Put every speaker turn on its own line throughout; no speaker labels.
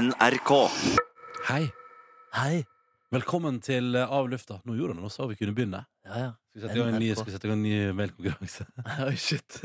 NRK.
Hei.
Hei.
Velkommen til eh, Av lufta. Nå gjorde han det, nå sa vi kunne begynne.
Ja, ja.
Skal vi sette i gang en ny,
NRK.
skal vi sette i gang en ny mailkonkurranse?
Oi, shit.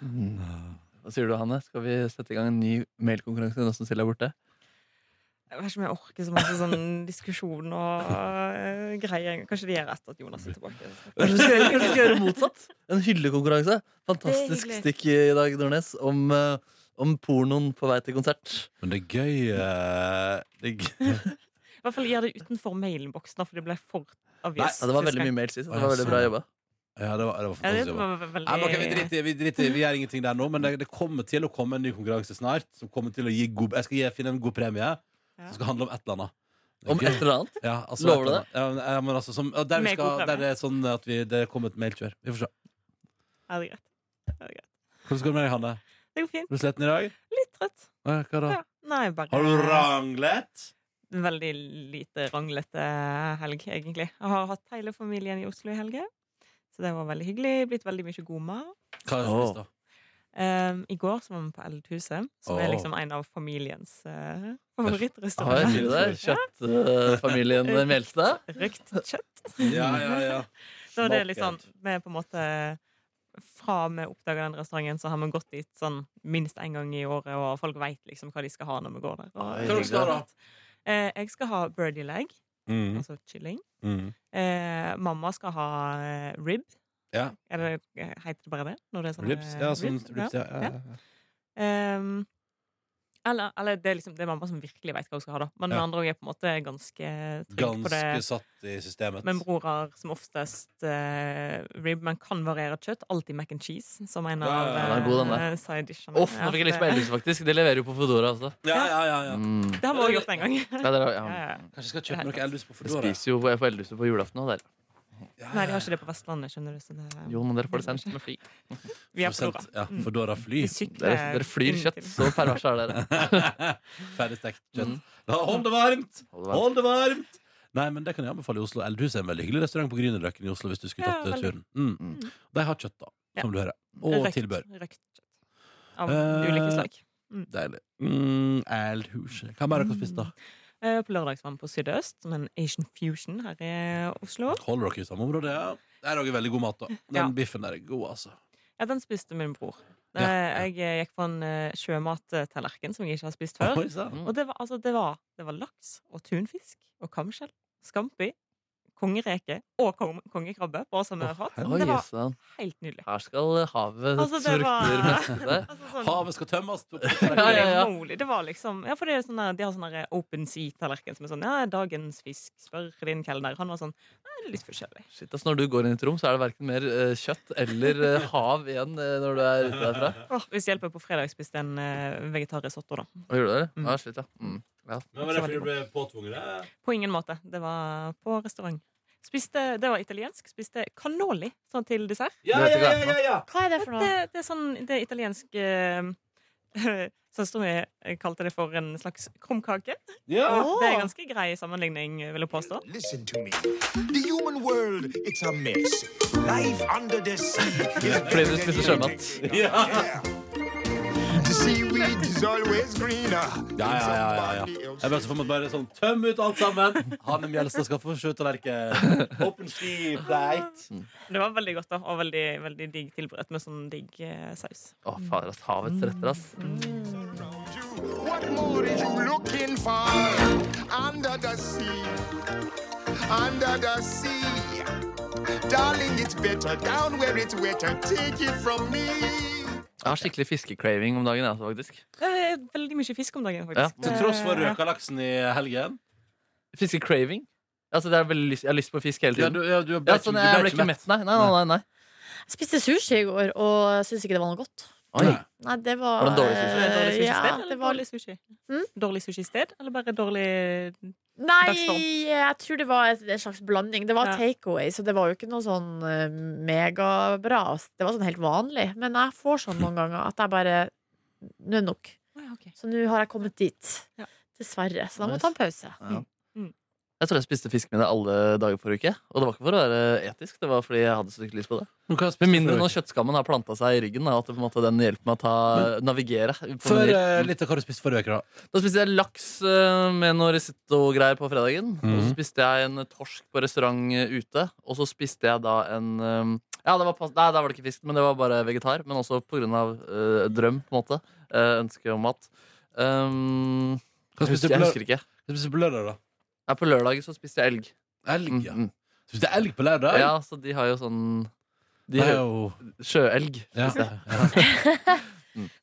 Hva sier du, Hanne? Skal vi sette i gang en ny mailkonkurranse nå som Silje er borte?
Jeg vet ikke om jeg orker så masse sånn diskusjon og eh, greier. Kanskje de gjør etter at Jonas er tilbake.
Kanskje vi skal gjøre, kanskje vi skal gjøre motsatt? En hyllekonkurranse. Fantastisk
Det er hyggelig.
stikk i dag, Nordnes, om, eh, om pornoen på vei til konsert.
Men det er gøy eh, det er gøy.
I hvert fall gjør det utenfor mailenboksen, da, for det ble for obvious.
Ja, det var
sist
veldig
gang.
mye mail sist.
Å,
Det
ja,
var veldig
sånn.
bra jobba.
Ja, det var, det var
Ja,
fantastisk.
det
jobba.
var veldig
Ja, men ok, vi driter i det, vi driter i det. Vi gjør ingenting der nå, men det, det kommer til å komme en ny konkurranse snart. Som kommer til å gi god, jeg skal gi, finne en god premie som skal handle om et eller annet. Det er
Om
gøy.
et eller annet.
Ja, altså,
Lover du
et eller annet. Ja, ja, men altså, som, ja, der, vi
Med god
skal,
premie.
der det er sånn at vi, det kommer et mailkjør. Vi får se.
Ja, det er greit. Ja, det er greit.
Hvordan går det med deg, Hanne?
Det går fint.
Er du sliten i dag?
Litt trøtt.
Nei, Hva da?
Ja. Nei, bare
Har
Eh.
du ranglet?
Veldig lite ranglete helg, egentlig. Jeg har hatt hele familien i Oslo i helga, så det var veldig hyggelig. Blitt veldig mye god mat.
Hva har du spist, da?
Em, I går så var vi på Eldhuset, som er
Åh.
liksom en av familiens uh,
Har jeg
favorittrestauranter.
hyggelig der? Kjøttfamilien eh, Melstad.
Røkt kjøtt.
Ja, ja, ja.
Så det er litt sånn
Smakjakt.
Vi er på en måte Fra vi oppdaga den restauranten, så har vi gått dit sånn minst én gang i året, og folk veit liksom hva de skal ha når vi går der.
Oi,
Og,
Hva
Hva dere skal dere ha, da?
Eh, jeg skal ha birdie leg,
Mm,
altså kylling.
mm.
Eh, mamma skal ha eh, rib.
Ja.
Eller eh, heter det bare det? Når det er sånn,
Rips?
eh,
Ja, sånn
rib?
rips, ja. ja,
Ja.
ja.
Ehm, eller, eller det er liksom Det er mamma som virkelig veit hva hun skal ha, da. Men
Ja.
vi andre også er på en måte ganske trygge på det.
Ganske satt i systemet.
Min bror har som oftest eh, rib, men kan variere kjøtt. Alltid mac and cheese, som en
Ja,
av
ja, ja,
den er god, den
eh,
der.
side dishene.
Uff, nå fikk jeg lyst på Eldhus, faktisk. Det leverer jo på Foodora også.
Ja, ja, ja, ja.
Mm.
Det har vi også gjort en gang.
Ja, det er,
Ja, ja.
ja.
Kanskje jeg skal kjøpe noe Eldus på
Vi
Foodora?
spiser jo på Eldhuset på julaften òg, der.
Nei, de har ikke det på Vestlandet, skjønner du. Så det,
Jo, men dere får det sendt med fly.
vi har
Prosent-
Flora.
Ja,
Mm.
Foodora fly.
Vi sykler
Dere, dere flyr
inn
kjøtt.
til-
Så perverse er dere.
Ferdigstekt kjøtt.
Mm.
Da, hold det varmt!
Hold det varmt.
Hold det varmt! Nei, men det kan jeg anbefale i Oslo. Eldhus er en veldig hyggelig restaurant på Grünerløkken i Oslo. hvis du skulle
Ja,
tatt eh,
veldig.
turen. Mm.
Mm.
De har kjøtt, da,
Ja.
som du hører. Og
røkt-
tilbør.
Røkt kjøtt. Av
Eh,
ulike slag.
Deilig. Mm, Eldhus. Hva mer har dere spist, da?
Eh, på lørdag så var vi på Sydøst, som en Asian fusion her i Oslo.
Holder dere i samme område? Ja. Der er også veldig god mat, da. Den
Ja.
biffen der er god, altså.
Ja, den spiste min bror.
Ja, ja.
Eh, Jeg eh, gikk på en eh, sjømattallerken som jeg ikke har spist før.
Oi, sann.
Mm.
Og det var, altså, det var, det var laks og tunfisk og kamskjell, skampi, kongereke og kong, kongekrabbe på samme
Å,
fat.
Oi,
Det var
sann.
helt nydelig.
Her skal havet
Altså, det var-
strukter meste seg.
Altså, sånn,
Havet skal tømmes.
Ja, ja, ja.
Moly. Det var liksom Ja, for det er sånn der, de har sånn der open sea-tallerken som er sånn Ja, dagens fisk, spør din kelner. Han var sånn Nei, det er litt forskjellig.
Shit, ass, når du går inn i et rom, så er det verken mer eh, kjøtt eller eh, hav igjen eh, når du er ute derfra.
Åh, hvis det hjelper, på fredag spiste jeg en uh, vegetarrisotto, da.
Hva gjorde dere?
Mm.
Ah, shit, ja. Mm.
Men var det fordi du ble påtvunget det?
På ingen måte. Det var på restaurant. Spiste, det var italiensk. Spiste cannoli sånn til dessert.
Ja,
Det
ja,
vet
ja,
jeg
ja, ja.
Hva er det for noe?
Det, det er sånn det er italiensk eh, Søsteren min kalte det for en slags krumkake.
ja.
Det er ganske grei sammenligning, vil jeg påstå.
Listen to me. The human world, it's a mess. Life under the sea is
Fordi du spiser sjømat.
Yeah. The seaweed is always greener.
Ja, ja, ja, ja, ja. Jeg bare så for meg bare sånn Tøm ut alt sammen! Hanne Mjelstad skal få sjøtallerken. Open ski, breit.
Det var veldig godt da, og veldig, veldig digg tilberedt med sånn digg eh, saus.
Å, fader, ass. Havets retter, ass.
Mm.
What more is you looking for? Under the sea. Under the sea. Darling, it's better down where it's wetter. Take it from me.
Jeg har skikkelig fiskecraving om dagen, jeg, altså, faktisk.
Det er veldig mye fisk om dagen,
Ja.
faktisk.
Til tross for røka laksen i helgen.
Fiskecraving? Altså, det er veldig lyst, jeg har lyst på fisk hele
Ja,
tiden.
du, ja, du ble,
Ja,
ikke-
sånn,
du
jeg ble ikke mett, nei. Nei, nei, nei. nei.
Jeg spiste sushi i går og syntes ikke det var noe godt.
Oi.
Nei.
Nei, det var
Var det en dårlig
Eh, Dårlig
eh,
sushisted,
Ja,
eller
det var
dårlig sushi?
Mm?
Dårlig sushisted, eller bare dårlig
Nei,
Dagsform.
jeg tror det var et, en slags blanding. Det var
Ja.
takeaway, så det var jo ikke noe sånn eh, megabra. Det var sånn helt vanlig. Men jeg får sånn noen ganger at jeg bare Nå er det nok.
Å ja, ok.
Så nå har jeg kommet dit.
Ja.
Dessverre. Så da må
Nice.
jeg ta en pause.
Ja.
Mm.
Jeg tror jeg spiste fiskemiddag alle dager forrige uke. Og det var ikke for å være etisk, det var fordi jeg hadde så stygt lyst på det. Med mindre når kjøttskammen har planta seg i ryggen, da, at det på en måte den hjelper meg å ta, navigere. på
Før
menyer.
eh, litt av hva du spiste forrige uke, da.
Da spiste jeg laks eh, med noe risotto-greier på fredagen. Og
Mhm.
så spiste jeg en eh, torsk på restaurant eh, ute. Og så spiste jeg da en eh, Ja, det var, pas- nei, der var det ikke fisk, men det var bare vegetar. Men også på grunn av eh, drøm, på en måte. Uh, ønske om mat. Um,
Hva
jeg,
spiste du
husker, jeg
på
husker ikke.
Hva spiste du på lørdag, da?
Ja, på lørdag så spiste jeg elg.
Elg,
Mm,
ja.
mm.
Spiste du elg på lørdag?
Ja, så de har jo sånn de
Det er
har,
jo
Sjøelg.
ja.
spiste jeg.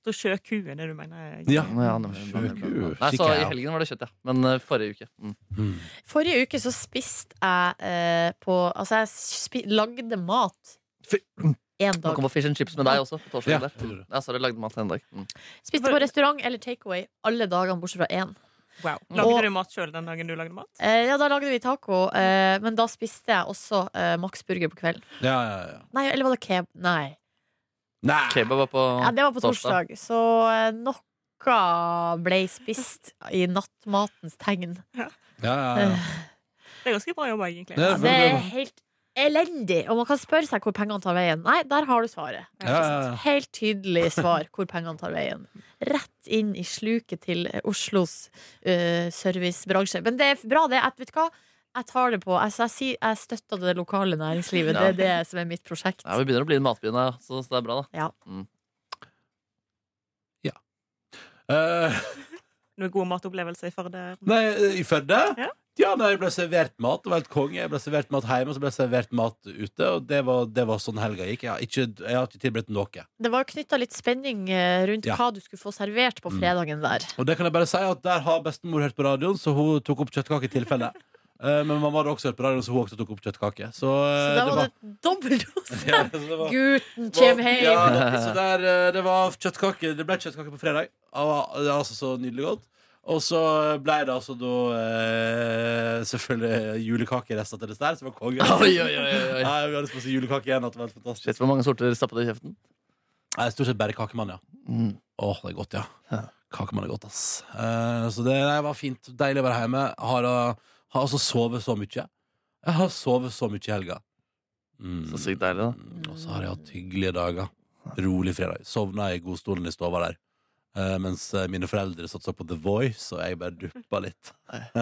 Så sjøku er det du mener? eh,
Ja.
Ja, det var-
Sjøku.
Nei, så
Kikker jeg
I
opp.
helgen var det kjøtt, ja. Men eh, forrige uke. Mm.
Mm.
Forrige uke så spiste jeg eh, på Altså, jeg spi lagde mat
Fy-
én
Man
dag.
kom på fish and chips med deg også. På
Ja,
torsdag der
jeg gjorde det.
Ja, så har du lagd mat en dag. Mm.
Spiste på restaurant eller takeaway alle dagene bortsett fra én.
Wow.
Mm. Og-
Lagde du mat sjøl den dagen du lagde mat?
Eh, ja, da lagde vi taco, eh, men da spiste jeg også eh, Max Burger på kvelden.
ja, ja, ja.
Nei, eller var det keb... Nei.
Nei!
Kebab var på
Ja, det var på torsdag. Så eh, noe ble spist i nattmatens tegn.
Ja, ja,
Eh.
ja.
Det er ganske bra jobba, egentlig.
Det er-
Det er helt elendig, og man kan spørre seg hvor pengene tar veien. Nei, der har du svaret.
Ja, ja, ja.
Helt tydelig svar hvor pengene tar veien. Rett inn i sluket til eh, Oslos eh, servicebransje. Men det er bra, det. Jeg, vet du hva? Jeg tar det på. Altså, jeg, sier, jeg støtter det lokale næringslivet. Det
Ja.
er det som er mitt prosjekt.
Ja, Vi begynner å bli en matby nå, så så det er bra, da.
Eh,
Noen gode matopplevelser i Førde?
nei, i Førde?
Ja.
Ja, nei, jeg ble servert mat. Det var helt konge. Jeg ble servert mat hjemme, og så ble jeg servert mat ute. Og det var, det var sånn helga gikk. Jeg har ikke, jeg har ikke tilberedt noe.
Det var knytta litt spenning eh, rundt
Ja.
hva du skulle få servert på
Mm.
fredagen der.
Og det kan jeg bare si at der har bestemor hørt på radioen, så hun tok opp kjøttkake i tilfelle. Eh, Men mamma hadde også hørt på radioen, så hun også tok opp kjøttkake. Så,
Så
eh,
da
det
var
var-
det dobbel dose!
Ja, så det var-
Guten kjem
var-
heim!
Ja, da, så der, eh, det var kjøttkake Det ble kjøttkake på fredag. Ah, det var Altså så nydelig godt. Og så ble det altså da eh, selvfølgelig julekakerester til dessert, som var konge.
Oi, oi, oi, oi, oi.
Nei, vi hadde spist julekake igjen. At det var helt fantastisk
Shit, hvor mange sorter stappa du i kjeften?
Nei, Stort sett bare kakemann, ja. Åh, det er godt, ja.
Mm. Ja.
Kakemann er godt, ass. Eh, så det nei, var fint. Deilig å være hjemme. Har, eh, har altså sovet så mye. Jeg har sovet så mye i helga. Mm.
Så sykt deilig, da.
Mm, Og så har jeg hatt hyggelige dager. Rolig fredag. Sovna i godstolen i stova der. Eh, mens eh, mine foreldre satsa på The Voice, og jeg bare duppa litt.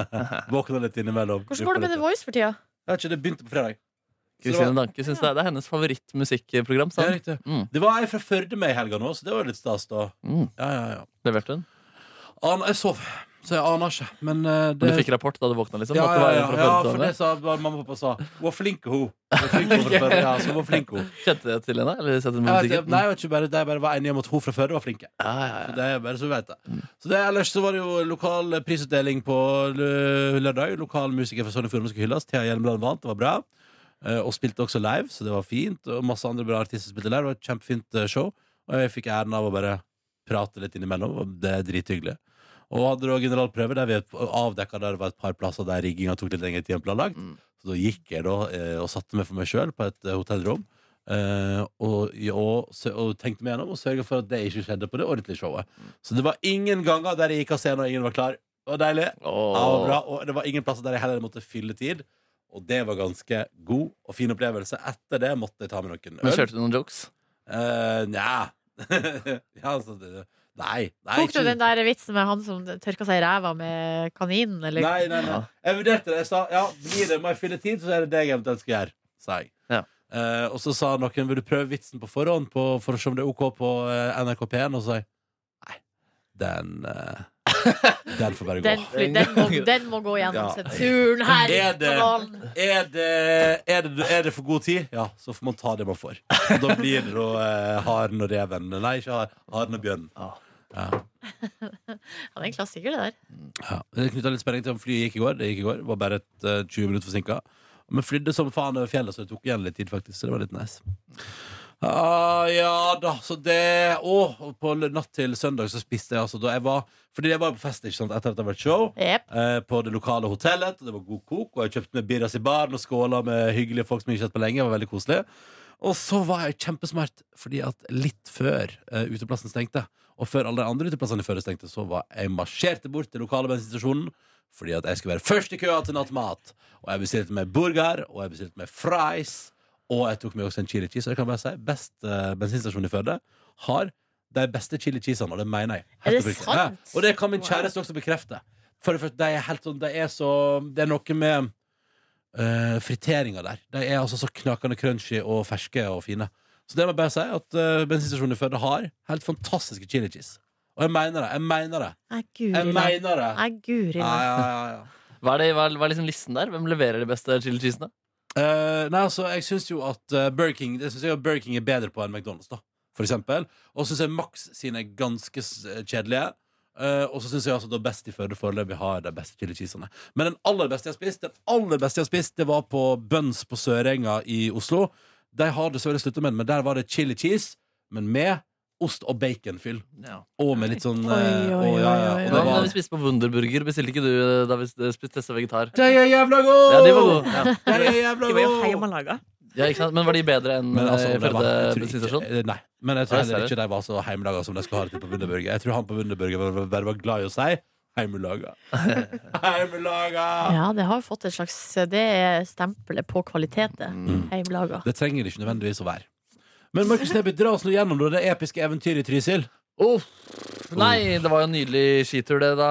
Våkna litt innimellom.
Hvordan går det med The
duppa litt.
Voice for tida?
Jeg vet ikke, det begynte på fredag. Så det var-
Kristine Danke syns det, er- det er hennes favorittmusikkprogram. sa
Ja,
hun.
riktig.
Mm.
Det var ei fra Førde med i helga nå, så det var jo litt stas, da.
Mm.
Ja, ja, ja.
Leverte hun?
An jeg sov, så jeg aner ikke. Men eh, det
Men du fikk rapport da du våkna? liksom?
ja,
at
ja,
det var
ja,
en fra
ja,
Førde
for
som
det
var
sa var mamma og pappa sa. Hvor flink er hun? Hvor flink hun fra Førde, ja, så hvor flink hun.
med? Kjente jeg til henne? eller sette henne på
Jeg vet,
musikken?
nei, jeg vet ikke, bare, de bare var enige om at hun fra Førde var flinke.
Ja, ja,
Så
ja.
det er bare så vi vet det. Så det, ellers så var det jo lokal prisutdeling på lø- lørdag. Lokal musiker fra Sogn og Fjordane skulle hylles. Thea Hjelmeland vant, det var bra. Eh, Og spilte også live, så det var fint. Og masse andre bra artister spilte live. Det var et kjempefint eh, show. Og jeg fikk æren av å bare prate litt innimellom, og det er drithyggelig. Og hadde da generalprøve der vi avdekka der det var et par plasser der rigginga tok litt lengre tid enn planlagt.
Mm.
Så da gikk jeg da eh, og satte meg for meg sjøl på et eh, hotellrom. eh, og, og, sø- og tenkte meg gjennom og sørga for at det ikke skjedde på det ordentlige showet. Så det var ingen ganger der jeg gikk av scenen og ingen var klar. Det var deilig. Ja, det var bra. Og det var ingen plasser der jeg heller måtte fylle tid. Og det var ganske god og fin opplevelse. Etter det måtte jeg ta med noen
Men
øl.
kjørte du noen jokes?
Eh, Nja ja, altså, det- Nei. nei
Tok du
ikke-
den der vitsen med han som tørka seg i ræva med kaninen, eller?
Nei, nei, nei.
Ja.
Jeg vurderte det. Jeg sa ja, blir det, må jeg fylle tid, så er det det jeg eventuelt skal gjøre. Sa jeg.
Ja.
Eh, og så sa noen vil du prøve vitsen på forhånd på, for å se om det er OK på eh, NRK P1. Og så sa jeg nei, den eh, Den får bare gå.
Den, fly- den, må, den må gå gjennom
Ja.
sensuren her i
Er det-
kanalen.
Er, det, er, det, er det for god tid, ja, så får man ta det man får. Og da blir det da eh, haren og reven. Nei, ikke har- haren og bjørnen.
Ja, det er en klassiker, det der.
Ja. Det knytta litt spenning til om flyet gikk i går. Det gikk i går, var bare et eh, 20 minutter forsinka. Men flydde som faen over fjellet, så det tok igjen litt tid, faktisk. Så det var litt nice. Ah, ja da, så det Å, og på l- natt til søndag så spiste jeg altså da jeg var Fordi jeg var jo på fest ikke sant, etter at det var et show.
Jep.
eh, På det lokale hotellet. Og det var god kok. Og jeg kjøpte med birras i baren og skåla med hyggelige folk som jeg ikke har sett på lenge. Det var veldig koselig Og så var jeg kjempesmart, fordi at litt før eh, uteplassen stengte, Og før alle de andre uteplassene i Førde stengte, så var jeg marsjerte bort til lokale bensinstasjonen fordi at jeg skulle være først i køa til nattmat. Og jeg bestilte meg burger, og jeg bestilte meg fries, og jeg tok med også en chili cheese. Og jeg kan bare si, best eh, bensinstasjon i Førde har de beste chili cheesene, og det mener jeg.
Er det
oppriktig.
sant?
Ja, Og det kan min
Wow.
kjæreste også bekrefte. For det første, de er helt sånn, de er så Det er noe med uh, friteringa der. De er altså så knakende crunchy og ferske og fine. Så det må jeg bare si at eh, bensinstasjonen i Førde har helt fantastiske chili cheese. Og jeg mener det. Jeg mener det.
Nei,
Jeg
guri land.
mener det.
Nei, guri
Ja,
land.
ja, ja, ja.
Hva er, det, hva, er- hva er liksom listen der? Hvem leverer de beste chili cheesene?
Eh, nei, altså, jeg syns jo at eh, Burger King Det synes jeg at Burger King er bedre på enn McDonald's, da. For eksempel. Og så syns jeg Max sine er ganske s- kjedelige. Eh, og så syns jeg altså da Best i Førde foreløpig har de beste chili cheesene. Men den aller beste jeg har spist, Den aller beste jeg har spist det var på Bøns på Sørenga i Oslo. De har dessverre slutta med den, men der var det chili cheese, men med ost og baconfyll.
Ja.
Og med litt sånn
Oi,
eh,
oi,
å, ja, ja.
oi, oi,
Og det
Hva
oi.
med da
var
vi spiste på Wunderburger? Bestilte ikke du eh, da vi spiste Tesse vegetar?
De er jævla gode!
Ja, de var gode. Ja.
De er jævla
De var jo
gode!
hjemmelaga.
Ja, ikke sant? Men var de bedre enn
Men altså, om
eh,
det
Førde
var, jeg tror
bensinstasjon?
ikke, nei, men jeg tror
Nei,
heller
ser
ikke de var så heimelaga som de skal ha det til på Wunderburger. Jeg tror han på Wunderburger bare var, bare var glad i å si heimelaga. heimelaga!
Ja, det har fått et slags Det er stempelet på kvalitet, det. Heimelaga.
Mm. Det trenger det ikke nødvendigvis å være. Men Markus Neby, dra oss nå gjennom da, det episke eventyret i Trysil.
Uff. Oh! Nei, det var jo en nydelig skitur det da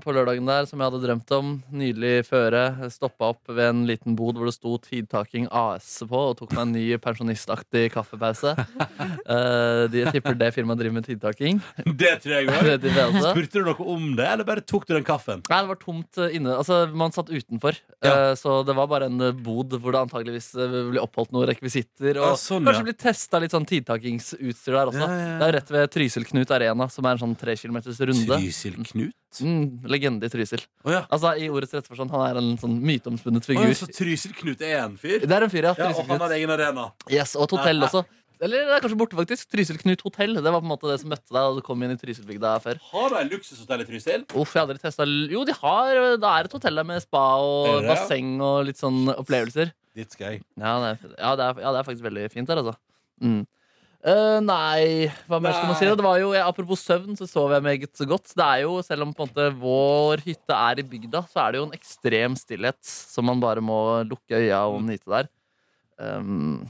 på lørdagen der, som jeg hadde drømt om. Nydelig føre. Stoppa opp ved en liten bod hvor det sto Tidtaking AS på, og tok meg en ny pensjonistaktig kaffepause. Eh, de jeg tipper det firmaet driver med tidtaking.
Det tror jeg
Det
òg.
er de fleste.
Spurte du noe om det, eller bare tok du den kaffen?
Nei, det var tomt eh, inne. Altså, Man satt utenfor.
Ja.
Eh, Så det var bare en eh, bod hvor det antageligvis eh, ble oppholdt noen rekvisitter. Og
Ja, sånn, ja.
kanskje ble testa litt sånn tidtakingsutstyr der også.
Ja, ja, ja.
Det er jo rett ved Trysil-Knut Arena, som er en sånn tre kilometers runde.
Trysil-Knut?
Mm, legende i Trysil.
Å ja.
Altså, I ordets rette forstand. Han er en sånn myteomspunnet
Å
figur.
ja. Så Trysil-Knut er en fyr?
det er en fyr, ja.
Ja, og han har
Trysil-Knut.
egen arena.
Yes, og et hotell også. Eller det er kanskje borte, faktisk. Trysil-Knut hotell. Det var på en måte det som møtte deg da du kom inn i Trysilbygda før.
Har de luksushotell i Trysil?
Uff, jeg har aldri testet l- Jo, de har Det er et hotell der med spa og
Er det det, ja?
basseng og litt sånn opplevelser.
Dit skal jeg.
Ja det, er, ja, det er, ja, det er faktisk veldig fint der, altså. Mm. Eh, nei, hva mer skal man si?
Nei.
Det var jo, jeg, apropos søvn, så sov jeg meget godt. Det er jo, Selv om på en måte vår hytte er i bygda, så er det jo en ekstrem stillhet som man bare må lukke øya
Mm.
og nyte der. Um,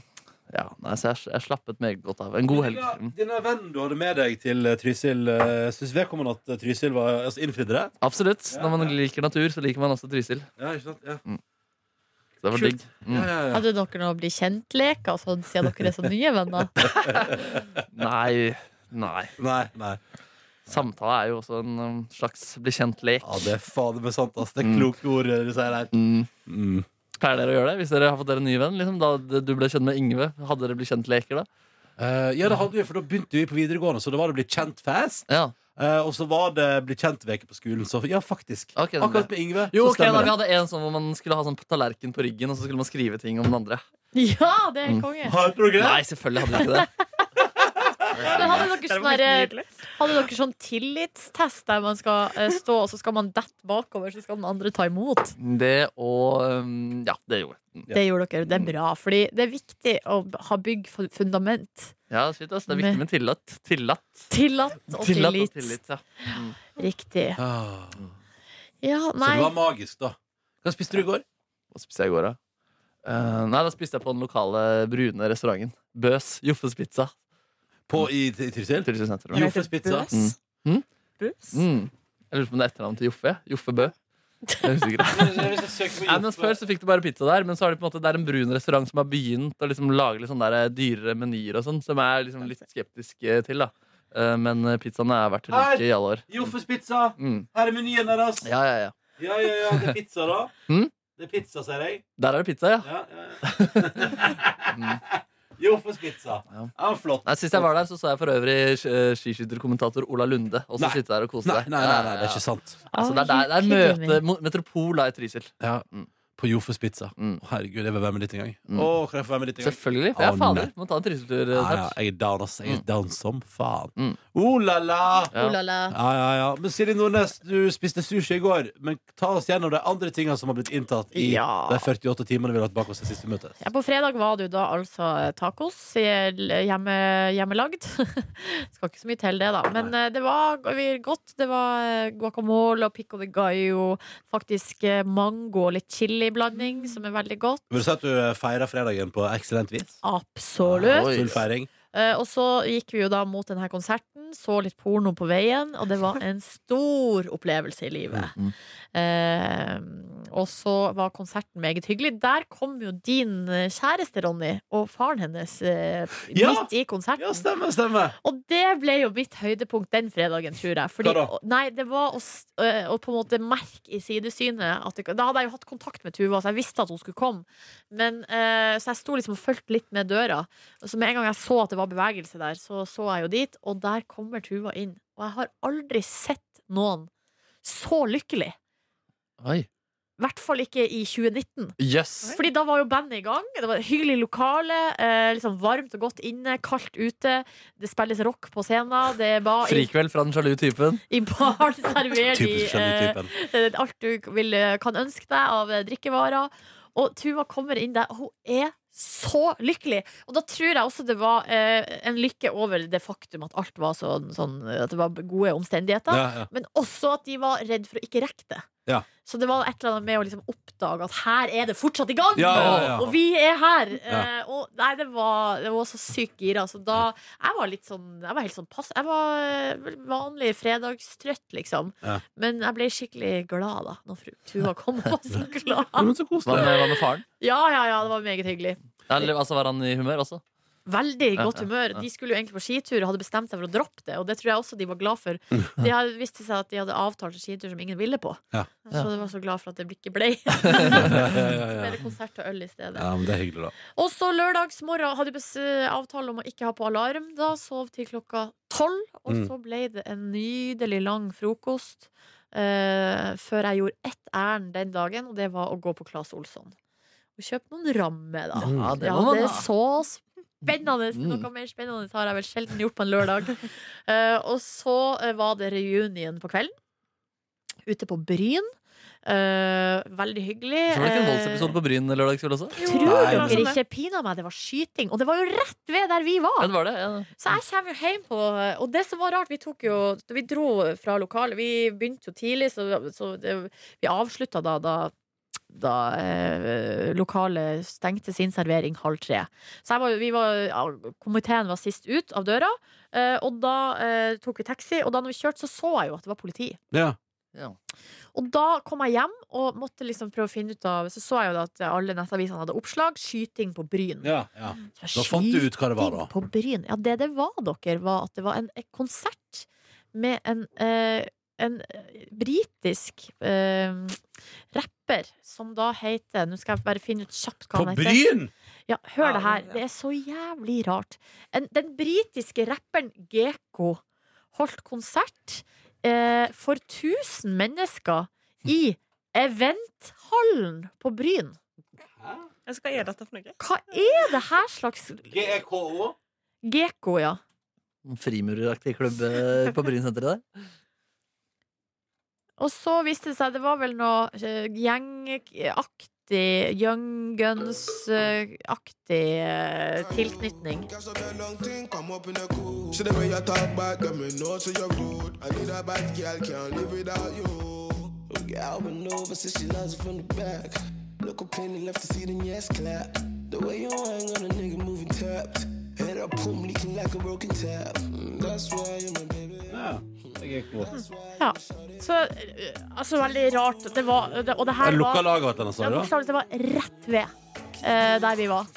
ja, nei, Så jeg, jeg slappet meget godt av. En god helg.
Denne,
Mm.
denne vennen du hadde med deg til eh, Trysil, syns vedkommende at eh, Trysil var altså, innfridde det?
Absolutt.
Ja,
Når man
ja.
liker natur, så liker man også Trysil.
Ja, ikke sant? Ja.
Så det var
Kult.
digg. Mm.
Ja, ja, ja.
Hadde dere noe å bli kjent-leker, sånn, siden dere er så nye venner?
Nei, nei.
Nei, nei.
Samtale er jo også en um, slags bli kjent-lek.
Ja, det er fader meg sant, ass. Det er
Mm.
kloke ord eh, du sier der.
Mm.
Mm.
Pleier dere å gjøre det hvis dere har fått dere en ny venn? Liksom, da d- du ble kjent med Yngve, hadde dere blitt kjent-leker da?
Eh, ja, det hadde vi, for da begynte vi på videregående, så da var det blitt kjent fast.
Ja.
Eh, og så var det blitt kjent-veke på skolen, så ja, faktisk.
Ok, den
Akkurat med Yngve.
Jo,
så
ok, da,
stemmer
Vi
det.
hadde en sånn hvor man skulle ha sånn tallerken på ryggen, og så skulle man skrive ting om den andre.
Ja, det er
Mm.
konge!
Har dere det?
Nei, selvfølgelig hadde vi ikke det.
Men hadde dere
Det
sånn,
var helt
der,
nydelig.
hadde dere sånn tillitstest der man skal eh, stå, og så skal man dette bakover, så skal den andre ta imot?
Det og um, Ja, det gjorde jeg.
Det gjorde dere. Det er bra. Fordi det er viktig å ha bygg for fundament.
Ja, shit, ass, Det er viktig med tillat. Tillatt.
Tillatt og
Tillatt og
tillit.
tillit ja.
Riktig.
Ah.
Ja,
Så det
nei.
var magisk, da. Hva spiste du i går?
Hva spiste jeg i går, da? Eh, nei, da spiste jeg på den lokale brune restauranten. Bøs. Joffes pizza.
På, i, i Trysil?
Trysil sentrum.
Den
Joffes
heter
pizza.
Bøs.
Mm. Mm?
Bøs?
Mm. Jeg lurer på om det er etternavnet til Joffe. Joffe Bø. Jeg er usikker. Nei, men Før så fikk du bare pizza der, men så er det på en måte Det er en brun restaurant som har begynt å liksom lage litt sånne der dyrere menyer og sånn, som jeg er liksom litt skeptisk eh, til. da Eh, Men eh, pizzaene har vært
Her!
like i alle år.
Joffes pizza!
Mm.
Her er menyen deres.
Ja, ja, ja.
Ja, ja, ja, det er pizza, da.
Mm?
Det er pizza, ser jeg.
Der er det pizza, ja.
Ja, ja, ja. Joffes pizza.
Ja.
Ja, flott.
Nei, Sist jeg var der, så så jeg for øvrig eh, skiskytterkommentator Ola Lunde også
Nei.
sitte der og kose
Nei,
seg.
nei, nei,
Altså,
nei, det er ikke sant.
Så det er, der- det er møte, mo- metropol da i Trysil.
Ja.
Mm.
på Jofus Pizza.
Mm.
Å, Herregud, jeg vil være med dit en gang.
Mm.
Å, kan jeg få være med dit en gang?
Selvfølgelig. For jeg
Å,
er
nei.
fader. Må ta en trylletur.
Ja,
eh,
ja,
snart.
jeg er down, ass. Jeg er
Mm.
down som faen.
Mm.
Oh la la!
Ja.
Oh la la.
Ja, ja, ja. Men Silje Nordnes, du spiste sushi i går. Men ta oss gjennom de andre tingene som har blitt inntatt i
Ja.
de 48 timene vi har hatt bak oss det siste møtet.
Ja, på fredag var det jo da altså tacos i- hjemme, hjemmelagd. Skal ikke så mye til det, da. Men eh, det var g- godt. Det var eh, guacamole og pico de gallo. Faktisk eh, mango og litt chiliblanding, som er veldig godt.
Vil du si at du feira fredagen på eksellent vis?
Absolutt.
Oi.
Full feiring.
Eh, Og så gikk vi jo da mot denne konserten, så litt porno på veien, og det var en stor opplevelse i livet.
Mm.
Eh, og så var konserten meget hyggelig. Der kom jo din eh, kjæreste, Ronny, og faren hennes eh,
Ja!
midt i konserten.
Ja, stemmer, stemmer.
Og det ble jo mitt høydepunkt den fredagen, tror jeg. Fordi,
Hva
Nei, det var å, s- øh, å på en måte merke i sidesynet at det, Da hadde jeg jo hatt kontakt med Tuva, så jeg visste at hun skulle komme. Men, øh, så jeg sto liksom og fulgte litt med døra. Og Så med en gang jeg så at det var bevegelse der, så så jeg jo dit. Og der kommer Tuva inn. Og jeg har aldri sett noen så lykkelig.
Oi.
I hvert fall ikke i 2019.
Jøss.
Fordi da var jo bandet i gang. Det var et hyggelig lokale. Eh, liksom varmt og godt inne, kaldt ute. Det spilles rock på scenen. Det var Ah, i,
Frikveld fra den sjalu typen.
i baren serverer de
Typisk sjalu-typen.
eh, alt du vil, eh, kan ønske deg av eh, drikkevarer. Og Tuva kommer inn der, og hun er så lykkelig! Og da tror jeg også det var eh, en lykke over det faktum at alt var sånn, sånn At det var gode omstendigheter.
Ja, ja.
Men også at de var redd for å ikke rekke det.
Ja.
Så det var et eller annet med å liksom oppdage at her er det fortsatt i gang!
Ja, ja, ja.
Og vi er her! Eh, og nei, det var, det var så sykt gira. Så da Jeg var litt sånn Jeg var helt sånn pass Jeg var eh, vanlig fredagstrøtt, liksom.
Ja.
Men jeg ble skikkelig glad da når fru Tuva kom og var så
Ja,
glad.
men så
Hva
koselig.
med, hva med faren?
Ja, ja, ja, det var meget hyggelig.
Eller, altså, var han i humør også?
Veldig
Ja,
godt
ja,
humør.
ja.
De skulle jo egentlig på skitur og hadde bestemt seg for å droppe det, og det tror jeg også de var glad for. De hadde, visste seg at de hadde avtalt en skitur som ingen ville på.
Mm. Ja.
Så de var så glad for at det ikke ble.
Ja, ja, ja,
Så
ja.
ble det konsert og øl i stedet.
ja, men det er hyggelig, da.
Og så lørdagsmorgen hadde vi bes- avtale om å ikke ha på alarm. Da sov til klokka tolv, og
Mm.
så ble det en nydelig lang frokost. eh, før jeg gjorde ett ærend den dagen, og det var å gå på Claes Olsson. Og kjøpe noen rammer, da.
Mm.
Ja, det
Ja,
må man
det er
ha. Mm.
så spennende. Noe mer spennende har jeg vel sjelden gjort på en lørdag. Eh, og så eh, var det reunion på kvelden. Ute på Bryn. Eh, veldig hyggelig.
Så var det ikke en voldsepisode
Eh,
på Bryn lørdagskveld også?
Jo,
Tror
det var
dere
sånn
ikke pina meg, det var skyting, og det var jo rett ved der vi
Ja,
var!
det var det. Ja.
Så jeg kommer jo hjem på Og det som var rart, vi tok jo Vi dro fra lokalet. Vi begynte jo tidlig, så, så det, vi avslutta da, da da eh, lokalet stengte sin servering halv tre. Så jeg var, jo- vi var, ja, komiteen var sist ut av døra, eh, og da eh, tok vi taxi. Og da når vi kjørte, så så jeg jo at det var politi.
Ja.
Og da kom jeg hjem og måtte liksom prøve å finne ut av Så så jeg jo da at alle nettavisene hadde oppslag. Skyting på Bryn.
Ja, ja.
Så jeg
Da fant du ut hva det var,
Skyting
da.
På Bryn. Ja, det det var, dere, var at det var en, en konsert med en, eh, en eh, britisk eh, rapper som da heter Nå skal jeg bare finne ut kjapt hva
På
han heter.
Bryn!
Ja, hør
Ja,
det her.
ja.
Det er så jævlig rart. En, den britiske rapperen Geko holdt konsert eh, for 1000 mennesker i Eventhallen på Bryn.
Jeg skal gjøre dette for noe.
Hva er det her slags
GEKO.
Geko, ja.
Noen Frimureraktig klubb eh, på Bryn senteret der.
Og så viste det seg det var vel noe eh, gjengaktig Young Guns-aktig eh, tilknytning.
Cause of the long thing come up in a cool. See the way you talk back, them me know so you're rude. I need a bad girl, can't live without you. Girl been over since she loves it from the back. No complaining, left to see the yes clap. The way you hang on a nigga moving tapped. Head up, boom, leaking like a broken tap. Mm, That's why you're my baby.
Ja, det er GEKO.
Ja. Så eh, altså, veldig rart. Det var, det, og det
Jeg
her var
lukka laget vårt, sa
Ja,
du? da?
bokstavelig talt, det var rett ved eh, der vi var.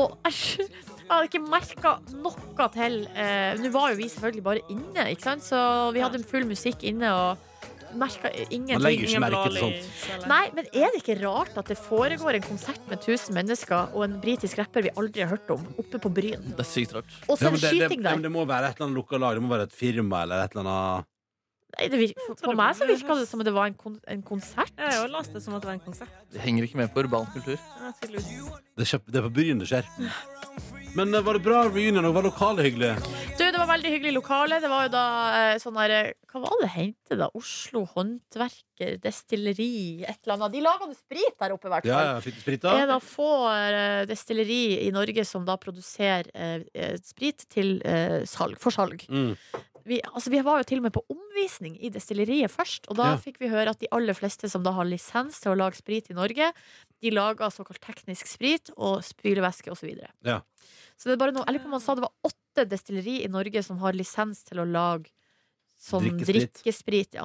Og æsj! Jeg hadde ikke merka noe til eh, Nå var jo vi selvfølgelig bare inne, ikke sant? så vi hadde full musikk inne og merka
Man legger
ingenting.
jo ikke merke til sånt.
Nei, men er det ikke rart at det foregår en konsert med 1000 mennesker og en britisk rapper vi aldri har hørt om, oppe på Bryn?
Det er sykt rart.
Og så
Ja,
er
men
det
det, det,
skyting
ja, men
der.
det må være et eller annet lukka lag. Det må være et firma eller et eller annet
Nei, det virk- for- på meg så virka det som om det var en, kon en konsert.
Jeg har jo lest det som at det var en konsert.
Jeg henger ikke med på urban kultur.
Ja, tydeligvis.
Det, er kjøp- det er på byen det skjer. Men eh, var det bra reunion, og var lokalet hyggelig?
Du, det var veldig hyggelig lokale. Det var jo da eh, sånn her eh, Hva var det det hente, da? Oslo Håndverker Destilleri, et eller annet. De laga noe sprit der oppe, i hvert
Ja,
fall.
ja, fikk du sprita?
Det er da få eh, destilleri i Norge som da produserer eh, eh, sprit til eh, salg, for salg.
Mm.
vi, altså, vi var jo til og med på omvisning i destilleriet først, og da
Ja.
fikk vi høre at de aller fleste som da har lisens til å lage sprit i Norge, de lager såkalt teknisk sprit og spylevæske osv. Så, videre.
Ja.
så det er bare noe, jeg lurer på om han sa det var åtte destilleri i Norge som har lisens til å lage sånn
Drikkesprit.
drikkesprit. drikkesprit ja.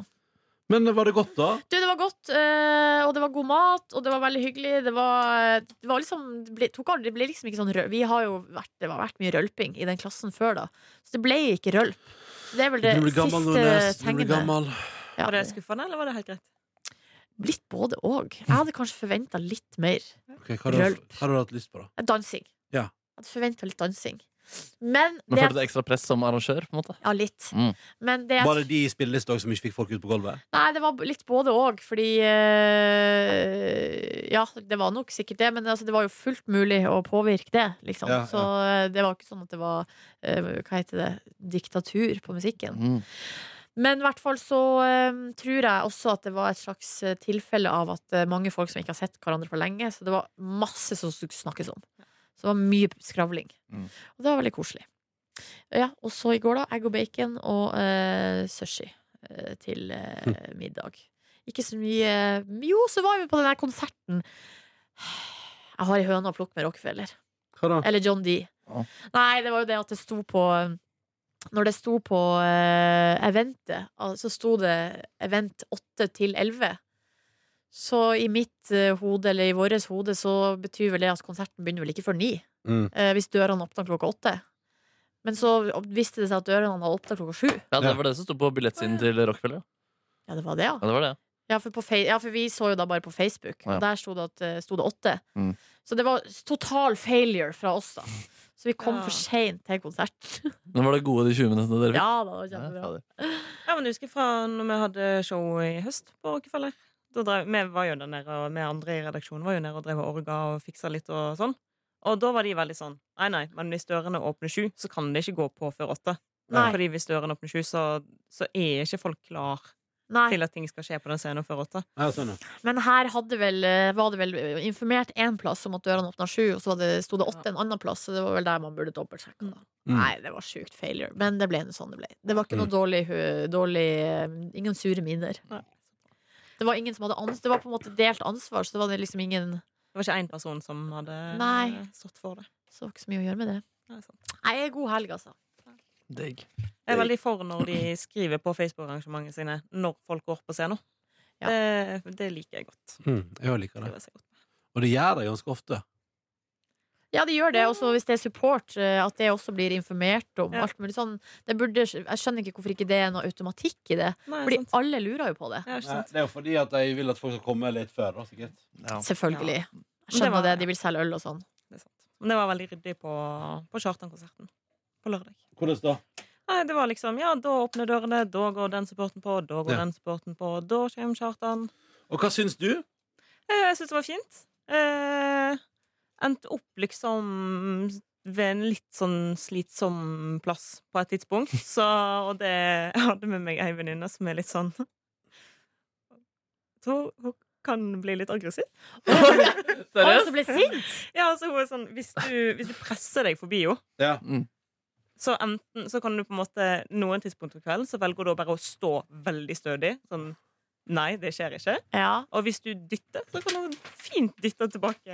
Men eh, var det godt, da?
Du, det var godt, eh, og det var god mat, og det var veldig hyggelig. Det var, det var liksom det ble, tok aldri, det ble liksom ikke sånn røl- Vi har jo vært, det har vært mye rølping i den klassen før, da. Så det ble ikke rølp. Så det er vel det
Du blir gammel, Nordnes.
siste
Du blir
tegnet.
gammel.
Ja,
Var det skuffende, eller var det helt greit?
litt både òg. Jeg hadde kanskje forventa litt mer
Ok, hva, har du,
Rølp.
hva har du hatt lyst på, da?
dansing.
Ja.
Jeg hadde forventa litt dansing. Men
Men
det
følte du ekstra press som arrangør? på en måte?
Ja, litt.
Mm.
Men det
Bare de i spillelista også, som ikke fikk folk ut på gulvet?
Nei, det var litt både òg, fordi eh, Ja, det var nok sikkert det, men altså, det var jo fullt mulig å påvirke det, liksom.
Ja, ja.
Så eh, det var ikke sånn at det var eh, Hva heter det? Diktatur på musikken.
Mm.
Men i hvert fall så eh, tror jeg også at det var et slags eh, tilfelle av at eh, mange folk som ikke har sett hverandre for lenge, så det var masse som skulle snakkes om. Så det var mye skravling.
Mm.
Og det var veldig koselig. Ja, og så i går, da. Egg og bacon og eh, sushi eh, til eh, middag. Ikke så mye Jo, så var vi på den der konserten. Jeg har ei høne å plukke med Rockefeller.
Hva da?
Eller John D.
Ja.
Nei, det var jo det at det sto på Når det sto på eh, eventet, al- så sto det event 8 til 11. Så i mitt eh, hode, eller i vårt hode, så betyr vel det at konserten begynner vel ikke før 9.
Mm.
eh, hvis dørene åpner klokka 8. Men så visste det seg at dørene hadde åpna klokka 7.
Ja,
Ja.
Det var det som sto på billettsiden til Rockefeller.
Ja, det var det, ja.
Ja, det var det.
Ja, for, på fei- ja, for vi så jo da bare på Facebook.
Ja.
Og der sto det, at, eh, sto det åtte.
Mm.
Så det var s- total failure fra oss, da. Så vi kom
Ja.
for seint til konserten.
Men var det gode de 20 minuttene dere fikk?
ja da, det var
Ja,
kjempebra.
fader.
Ja, men jeg husker fra når vi hadde show i høst på Rockefeller. Da drev, vi var jo der nede, og vi andre i redaksjonen var jo nede og drev og orga og fiksa litt og sånn. Og da var de veldig sånn Nei, nei, men hvis dørene åpner sju, så kan det ikke gå på før åtte.
Nei.
Fordi hvis dørene åpner sju, så, så er ikke folk klar
Nei,
til at ting skal skje på den scenen før åtte.
Ja, sånn, ja.
men her hadde vel, eh, var det vel informert én plass om at dørene åpna sju, og så var det, sto det åtte en annen plass, så det var vel der man burde dobbeltsjekke. Da.
Mm.
Nei, det var sjukt failure. Men det ble nå sånn det ble. Det var ikke noe
Mm.
dårlig, hu- dårlig eh, Ingen sure minner.
Nei.
Det var ingen som hadde ans Det var på en måte delt ansvar, så det var det liksom ingen
Det var ikke én person som hadde eh,
Nei.
stått for det.
Så det var ikke så mye å gjøre med det.
Nei, sant.
Nei, god helg, altså.
Digg.
Jeg er veldig for når de skriver på Facebook-arrangementene sine når folk går på scenen.
Ja.
Det, det liker jeg godt.
Mm, jeg liker det.
Trives jeg godt.
Og det gjør de ganske ofte.
Ja, det gjør det. Også hvis det er support, eh, at det også blir informert om
Ja.
alt mulig sånn. Det burde, jeg skjønner ikke hvorfor ikke det er noe automatikk i det.
Nei,
Fordi
sant.
alle lurer jo på det.
Ja, ikke sant.
det er jo fordi at de vil at folk skal komme litt før, da, sikkert.
Ja.
Selvfølgelig. Jeg
Men det
skjønner
var-
det. De vil selge øl og sånn.
Det er sant. Men det var veldig ryddig på, på Kjartan-konserten på lørdag.
Hvordan da?
Nei, det var liksom Ja, da åpner dørene, da går den supporten på, da går
Ja.
den supporten på, da kommer Kjartan.
Og hva syns du?
Eh, Jeg syns det var fint. Eh, endte opp liksom ved en litt sånn slitsom plass på et tidspunkt. Så, og det jeg hadde med meg ei venninne som er litt sånn Jeg tror hun kan bli litt aggressiv.
Alle
Seriøst?
som blir sint!
Ja, altså hun er sånn Hvis du, hvis du presser deg forbi henne
Ja.
Mm.
Så enten så kan du på en måte noen tidspunkt på kvelden så velger du bare å stå veldig stødig. Sånn Nei, det skjer ikke.
Ja.
Og hvis du dytter, så kan du fint dytte tilbake.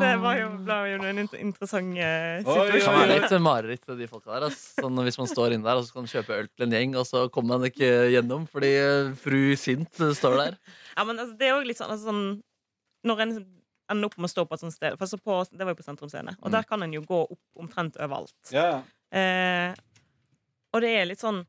Det var jo, ble jo en int- interessant eh,
Oi,
Det kan
situasjon.
oi,
være litt mareritt, de folka der. ass. Sånn, hvis man står inne der og så kan man kjøpe øl til en gjeng, og så kommer man ikke gjennom fordi eh, fru Sint eh, står der.
Ja, men altså, det er jo litt sånn, altså, sånn Når en ender opp med å stå på et sånt sted for så på, Det var jo på Sentrum Scene. Og
Mm.
der kan en jo gå opp omtrent overalt.
Ja.
Eh, og det er litt sånn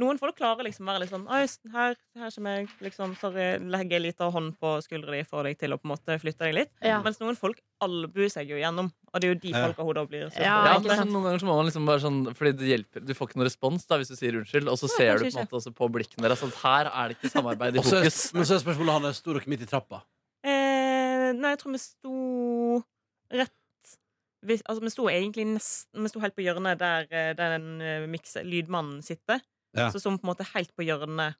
Noen folk klarer liksom å være litt sånn Oi, s- her, her kommer jeg, liksom, sorry, legger en liten hånd på skuldra di, får deg til å på en måte flytte deg litt.
Ja.
Mens noen folk albuer seg jo gjennom, og det er jo de
Ja.
folka hodet blir sur
Ja,
Ja,
ikke
men
sant.
Noen ganger så må man liksom bare sånn Fordi det hjelper, du får ikke noen respons da hvis du sier unnskyld, og så
Nei,
ser du
kanskje
på en måte også på blikkene deres at her er det ikke samarbeid i
Og så er,
fokus.
men så er spørsmålet han er stor og midt i trappa.
Eh, nei, jeg tror vi sto rett vi, Altså, vi sto egentlig nesten Vi sto helt på hjørnet der eh, den eh, mikse, lydmannen sitter.
Ja.
Så sto vi på en måte helt på hjørnet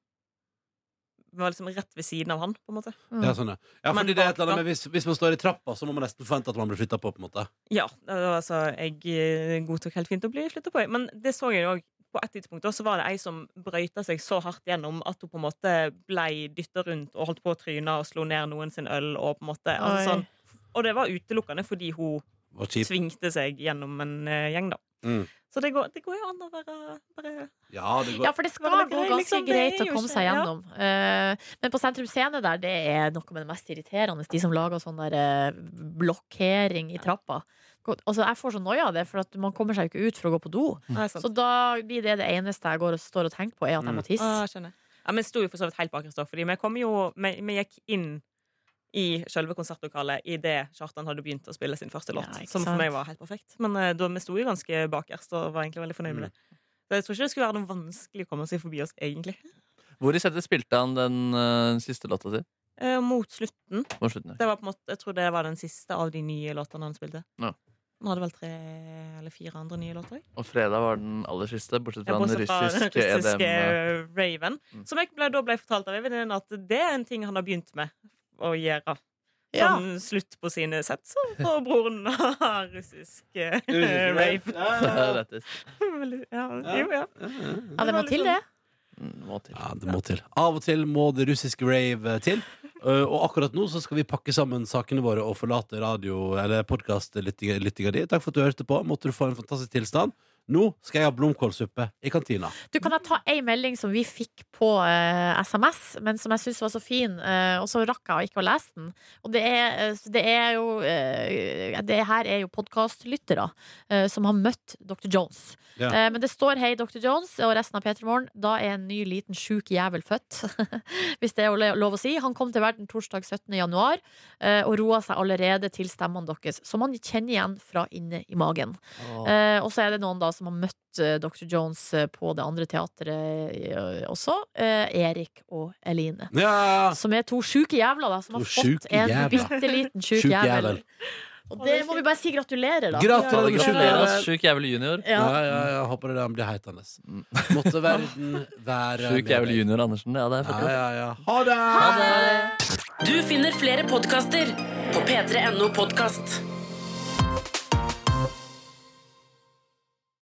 Vi var liksom rett ved siden av han, på en måte.
Mm.
Ja, sånn, ja. ja
Men
fordi det er et eller
bak da?
annet med hvis, hvis man står i trappa, så må man nesten forvente at man blir flytta på. på en måte
Ja, det var altså, jeg eh, godtok helt fint å bli slutta på. Men det så jeg jo òg. På et tidspunkt da, så var det ei som brøyta seg så hardt gjennom at hun på en måte blei dytta rundt og holdt på å tryne og slo ned noen sin øl. Og på en måte,
Oi.
altså, sånn. og det var utelukkende fordi hun
Var kjipt.
svingte seg gjennom en eh, gjeng, da.
Mm.
Så det går, det går jo an å være bare
Ja, det går.
Ja, for det skal
Var det
gå
grei,
ganske
liksom? Det
greit
er
å
jo
komme
ikke-
seg
ja.
gjennom. Eh, men på Sentrum Scene der, det er noe med det mest irriterende. De som lager sånn der eh, blokkering i trappa. Gå- Altså, jeg får så noia av det, for at man kommer seg jo ikke ut for å gå på do.
Nei, sant.
Så da blir det det eneste jeg går og står og tenker på, er at jeg må tisse.
Ah, skjønner. Ja, men sto jo for så vidt helt bak Kristoffer. Vi kom jo Vi, vi gikk inn i selve konsertlokalet idet Kjartan hadde begynt å spille sin første låt.
Ja, ikke
som for
sant.
meg var helt perfekt. Men eh, da, vi sto jo ganske bakerst og var egentlig veldig fornøyd med det. Så jeg tror ikke det skulle være noe vanskelig å komme seg forbi oss, egentlig.
Hvor i settet spilte han den eh, siste låta si?
Eh, mot slutten.
Må slutte ned.
Det var på en måte, jeg tror det var den siste av de nye låtene han spilte.
Ja.
Han hadde vel tre eller fire andre nye låter òg.
Og fredag var den aller siste, bortsett
Ja,
fra den
bortsett fra den
russiske
russiske
EDM. eh,
Raven.
Mm.
Som jeg ble, da ble fortalt av Evin at det er en ting han har begynt med å gjøre.
Ja.
Som slutt på sine sett, så får broren ha russisk eh, rave.
Lættis.
Veldig- ja, jo, ja.
Ja, det må
var
til, det.
liksom-
Mm, Må til.
Ja, det må til. Av og til må det russiske rave til. Uh, og akkurat nå så skal vi pakke sammen sakene våre og forlate radio- eller podkastlyttinga di. Takk for at du hørte på. Måtte du få en fantastisk tilstand. Nå skal jeg ha blomkålsuppe i kantina.
Du kan jeg ta ei melding som vi fikk på eh, SMS, men som jeg syns var så fin, eh, og så rakk jeg ikke å lese den. Og det er, eh, så det er jo eh, Det her er jo podkastlyttere eh, som har møtt Dr. Jones.
Ja.
Eh, men det står 'Hei, Dr. Jones' og resten av P3 Morgen. Da er en ny liten sjuk jævel født. Hvis det er lo- lov å si. Han kom til verden torsdag 17. januar eh, og roa seg allerede til stemmene deres, som han kjenner igjen fra inne i magen. Eh, og så er det noen da som har møtt eh, Dr. Jones eh, på det andre teatret eh, også. Eh, Erik og Eline.
Ja!
Som er to sjuke jævler, da. Som
To
har fått
sjuke
en
jævler.
bitte liten sjuk
Sjuk
jævel.
jævel.
Og det må vi bare si gratulerer, da.
Gratulerer.
Gratulerer, ass, sjuk jævel junior.
Ja.
Ja, ja, ja, håper det blir heitende. Måtte verden være
Sjuk
med
jævel
deg.
junior Andersen. Ja, det er
Ja,
faktisk.
ja, ja. Ha det!
Du finner flere podkaster på p3.no podkast.